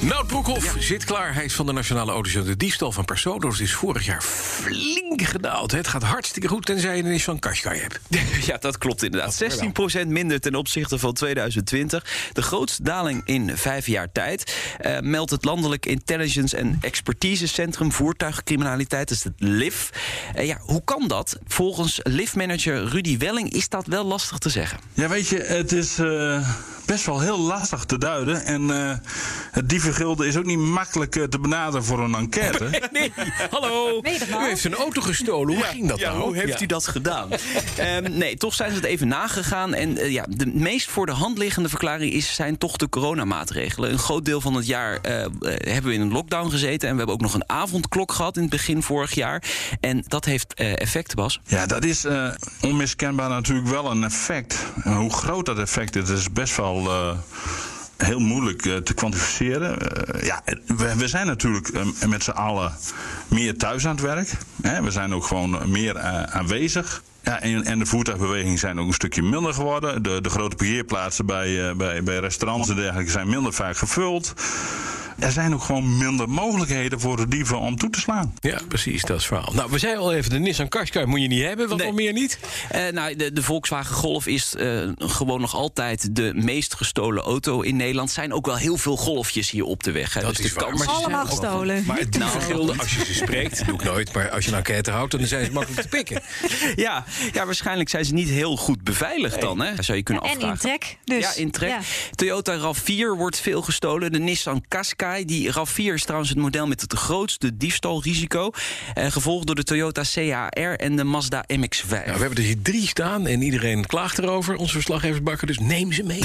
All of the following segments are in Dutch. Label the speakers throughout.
Speaker 1: Nout Broekhoff zit klaar. Hij is van de Nationale Auto. De diefstal van personenauto's is vorig jaar flink gedaald. Het gaat hartstikke goed, tenzij je ineens zo'n kastje hebt.
Speaker 2: Ja, dat klopt inderdaad. 16% minder ten opzichte van 2020. De grootste daling in vijf jaar tijd. Eh, meldt het Landelijk Intelligence en Expertise Centrum Voertuigcriminaliteit, dat is het LIF. Eh, ja, hoe kan dat? Volgens LIF-manager Rudy Welling is dat wel lastig te zeggen.
Speaker 3: Ja, weet je, het is eh, best wel heel lastig te duiden. En eh, het dievengilde is ook niet makkelijk eh, te benaderen voor een enquête.
Speaker 1: Nee, hallo. U heeft een auto gestolen. Hoe ging dat
Speaker 2: Ja,
Speaker 1: nou?
Speaker 2: hoe heeft u dat gedaan? Ehm, nee, toch zijn ze het even nagegaan. En eh, ja, de meest voor de hand liggende verklaring is, zijn toch de coronamaatregelen. Een groot deel van het jaar eh, eh, hebben we in een lockdown gezeten. En we hebben ook nog een avondklok gehad in het begin vorig jaar. En dat heeft eh effect, Bas.
Speaker 3: Ja, dat is eh, onmiskenbaar natuurlijk wel een effect. En hoe groot dat effect is, is best wel eh, heel moeilijk eh, te kwantificeren. Eh, ja, we, we zijn natuurlijk eh, met z'n allen meer thuis aan het werk. Hè? We zijn ook gewoon meer eh, aanwezig. Ja, en, en de voertuigbewegingen zijn ook een stukje minder geworden. De, de grote parkeerplaatsen bij, eh, bij, bij restaurants en dergelijke zijn minder vaak gevuld. Er zijn ook gewoon minder mogelijkheden voor de dieven om toe te slaan.
Speaker 1: Ja, precies, dat is het verhaal. Nou, we zeiden al even, de Nissan Qashqai moet je niet hebben, wat
Speaker 2: Nee.
Speaker 1: nog meer niet.
Speaker 2: Eh, nou, de, de Volkswagen Golf is eh, gewoon nog altijd de meest gestolen auto in Nederland. zijn ook wel heel veel golfjes hier op de weg. Hè.
Speaker 1: Dat
Speaker 2: dus
Speaker 1: is
Speaker 2: de
Speaker 1: waar.
Speaker 2: kans-
Speaker 4: Allemaal gestolen.
Speaker 1: Maar het
Speaker 2: Nou.
Speaker 1: dievengilde, als je ze spreekt, doe ik nooit. Maar als je een enquête houdt, dan zijn ze makkelijk te pikken.
Speaker 2: Ja, ja, waarschijnlijk zijn ze niet heel goed beveiligd dan. Hè? Zou je kunnen
Speaker 4: En in
Speaker 2: afvragen.
Speaker 4: trek. Dus,
Speaker 2: ja, in trek.
Speaker 4: ja.
Speaker 2: Toyota RAV4 wordt veel gestolen. De Nissan Qashqai. Die RAV4 is trouwens het model met het grootste diefstalrisico. Eh, gevolgd door de Toyota CHR en de Mazda MX-5.
Speaker 1: Nou, we hebben er hier drie staan en iedereen klaagt erover. Onze verslaggevers bakken, dus neem ze mee.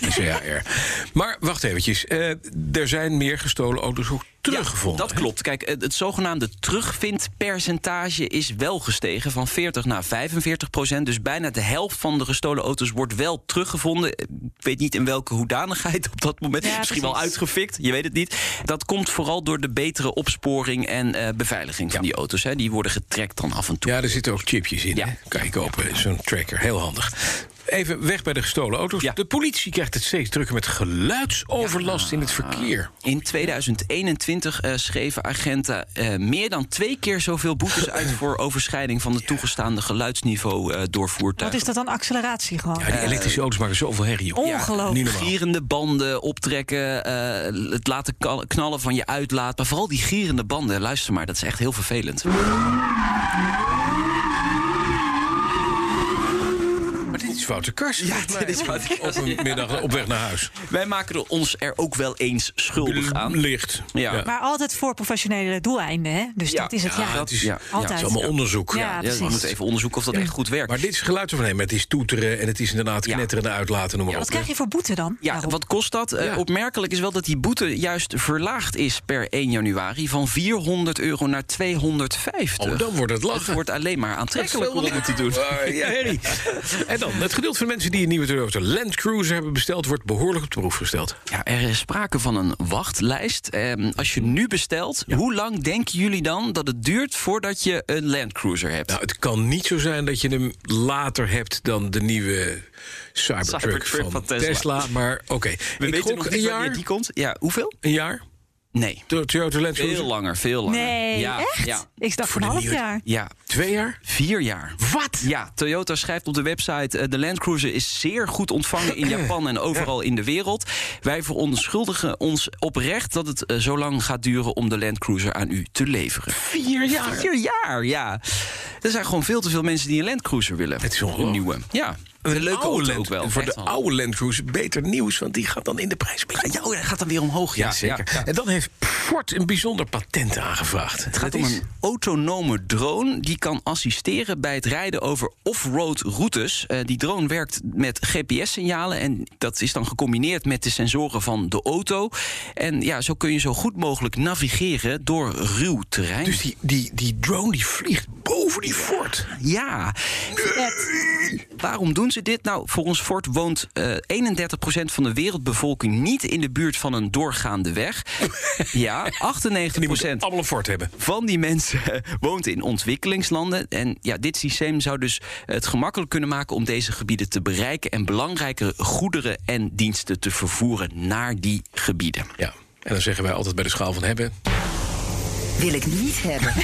Speaker 1: CHR. Maar wacht eventjes. eh, er zijn meer gestolen auto's ook teruggevonden.
Speaker 2: Ja, dat
Speaker 1: hè?
Speaker 2: klopt. Kijk, het, het zogenaamde terugvindpercentage is wel gestegen van 40 naar 45 procent. Dus bijna de helft van de gestolen auto's wordt wel teruggevonden. Ik weet niet in welke hoedanigheid op dat moment.
Speaker 4: Ja,
Speaker 2: Misschien wel
Speaker 4: precies.
Speaker 2: uitgefikt, je weet het niet. Dat komt vooral door de betere opsporing en eh, beveiliging van die auto's. Hè. Die worden getrekt dan af en toe.
Speaker 1: Ja, er zitten ook chipjes in.
Speaker 2: Ja.
Speaker 1: hè? Kan je kopen, zo'n tracker. Heel handig. Even weg bij de gestolen auto's.
Speaker 2: Ja.
Speaker 1: De politie krijgt het steeds drukker met geluidsoverlast in het verkeer.
Speaker 2: In 2021 eh, schreven agenten eh, meer dan twee keer zoveel boetes uit voor overschrijding van het toegestaande geluidsniveau eh door
Speaker 4: Wat
Speaker 2: voertuigen.
Speaker 4: is dat dan? Acceleratie gewoon.
Speaker 1: Ja, die
Speaker 2: Eh,
Speaker 1: elektrische auto's maken zoveel herrie. joh.
Speaker 4: Ongelooflijk.
Speaker 1: Niet normaal.
Speaker 2: Gierende banden optrekken, eh, het laten kal- knallen van je uitlaat. Maar vooral die gierende banden, luister maar, dat is echt heel vervelend.
Speaker 1: Maar dit is Wouter Kars. volgens mij.
Speaker 2: dit is Wouter Kars.
Speaker 1: Op een middag op weg naar huis.
Speaker 2: Wij maken er ons er ook wel eens schuldig aan.
Speaker 1: Licht.
Speaker 2: Ja.
Speaker 4: Maar altijd voor professionele doeleinden, hè? Dus dat is het, ja.
Speaker 1: Ja, het is,
Speaker 2: Ja.
Speaker 1: Het is
Speaker 4: Altijd.
Speaker 1: allemaal onderzoek.
Speaker 4: Ja,
Speaker 2: Ja, we
Speaker 4: precies.
Speaker 2: moeten even onderzoeken of dat echt goed werkt.
Speaker 1: Maar dit is geluid van hem. Het is toeteren en het is inderdaad
Speaker 2: Ja.
Speaker 1: knetteren en uitlaten. Noem maar
Speaker 4: Wat
Speaker 1: op.
Speaker 4: krijg je voor boete dan?
Speaker 2: Ja,
Speaker 4: Daarom.
Speaker 2: wat kost dat? Eh,
Speaker 1: Ja.
Speaker 2: opmerkelijk is wel dat die boete juist verlaagd is per 1 januari van 400 euro naar 250.
Speaker 1: Oh, dan wordt het lachen.
Speaker 2: Het wordt alleen maar aantrekkelijk om dat te doen.
Speaker 1: Ah, ja, herrie. En dan, het gedeelte van mensen die een nieuwe Toyota Land Cruiser hebben besteld... wordt behoorlijk op de proef gesteld.
Speaker 2: Ja, er is sprake van een wachtlijst. Ehm, als je nu bestelt, hoe lang denken jullie dan dat het duurt voordat je een Land Cruiser hebt?
Speaker 1: Nou, het kan niet zo zijn dat je hem later hebt dan de nieuwe Cybertruck,
Speaker 2: Cybertruck
Speaker 1: van,
Speaker 2: van
Speaker 1: Tesla.
Speaker 2: Tesla.
Speaker 1: Maar oké,
Speaker 2: We
Speaker 1: ik
Speaker 2: weten
Speaker 1: gok
Speaker 2: nog
Speaker 1: een
Speaker 2: niet wanneer
Speaker 1: jaar.
Speaker 2: die komt. Ja, hoeveel?
Speaker 1: Een jaar?
Speaker 2: Nee,
Speaker 1: De Toyota Land Cruiser?
Speaker 2: veel langer, veel langer.
Speaker 4: Nee,
Speaker 2: ja,
Speaker 4: echt?
Speaker 2: Ja,
Speaker 4: Ik dacht
Speaker 1: Voor
Speaker 4: van
Speaker 1: de
Speaker 4: half
Speaker 1: nieuwe-
Speaker 4: jaar.
Speaker 2: ja,
Speaker 1: Twee jaar?
Speaker 2: vier jaar.
Speaker 1: Wat?
Speaker 2: Ja, Toyota schrijft op de website... eh, de Land Cruiser is zeer goed ontvangen in Japan en overal in de wereld. Wij verontschuldigen ons oprecht dat het eh, zo lang gaat duren... om de Land Cruiser aan u te leveren. Vier jaar? Vier jaar, ja. Er zijn gewoon veel te veel mensen die een Land Cruiser willen.
Speaker 1: Het is
Speaker 2: een
Speaker 1: ongelooflijk.
Speaker 2: nieuwe. Ja, een leuke
Speaker 1: oude
Speaker 2: auto
Speaker 1: Land-
Speaker 2: ook wel.
Speaker 1: Voor
Speaker 2: echt
Speaker 1: de
Speaker 2: wel.
Speaker 1: oude Land Cruiser beter nieuws, want die gaat dan in de prijs.
Speaker 2: Ja, oh, dat gaat dan weer omhoog.
Speaker 1: Ja, zeker.
Speaker 2: ja.
Speaker 1: En dan heeft Ford een bijzonder patent aangevraagd.
Speaker 2: Het gaat om een autonome drone die kan assisteren bij het rijden over off-road routes. Eh, die drone werkt met GPS-signalen en dat is dan gecombineerd met de sensoren van de auto. En ja, zo kun je zo goed mogelijk navigeren door ruw terrein.
Speaker 1: Dus die, die, die drone die vliegt boven die Ford.
Speaker 2: Ja,
Speaker 4: Vet.
Speaker 2: Waarom doen ze dit? Nou, volgens Ford woont eh 31% van de wereldbevolking niet in de buurt van een doorgaande weg. ja, 98%
Speaker 1: Die moeten allemaal een fort hebben.
Speaker 2: van die mensen woont in ontwikkelingslanden. En ja, dit systeem zou dus het gemakkelijk kunnen maken om deze gebieden te bereiken en belangrijke goederen en diensten te vervoeren naar die gebieden.
Speaker 1: Ja. En dan zeggen wij altijd bij de schaal van hebben.
Speaker 5: Wil ik niet hebben.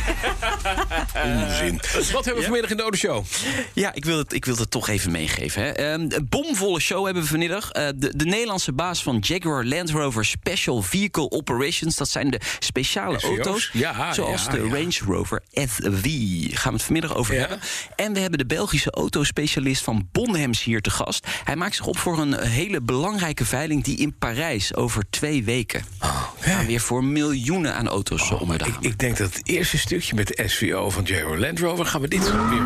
Speaker 2: Eh,
Speaker 1: Onzin. Wat hebben we vanmiddag in de Ode Show?
Speaker 2: Ja, ik wil het, ik wil het toch even meegeven. Hè. Ehm, een bomvolle show hebben we vanmiddag. Eh, de, de Nederlandse baas van Jaguar Land Rover Special Vehicle Operations. Dat zijn de speciale
Speaker 1: SVO's.
Speaker 2: auto's.
Speaker 1: Ja,
Speaker 2: zoals
Speaker 1: ja,
Speaker 2: de
Speaker 1: ja.
Speaker 2: Range Rover SV. Gaan we het vanmiddag over
Speaker 1: Ja.
Speaker 2: hebben. En we hebben de Belgische autospecialist van Bonhems hier te gast. Hij maakt zich op voor een hele belangrijke veiling die in Parijs over twee weken. Gaan weer voor miljoenen aan auto's om de
Speaker 1: Oh, ik,
Speaker 2: hamer.
Speaker 1: ik denk dat het eerste stukje met de SVO van Jaguar Land Rover gaan we dit zo weer.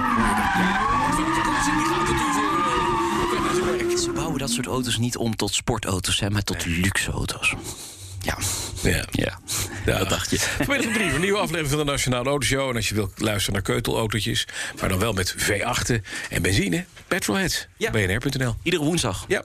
Speaker 2: Ze bouwen dat soort auto's niet om tot sportauto's, hè, maar tot luxe auto's. Ja.
Speaker 1: Ja.
Speaker 2: Ja, dat dacht je.
Speaker 1: Vanmiddag om drie uur, een nieuwe aflevering van de Nationale Autoshow. En als je wilt luisteren naar keutelautootjes, maar dan wel met V8'en en benzine, petrolheads,
Speaker 2: Ja.
Speaker 1: bnr.nl.
Speaker 2: Iedere woensdag.
Speaker 1: Ja.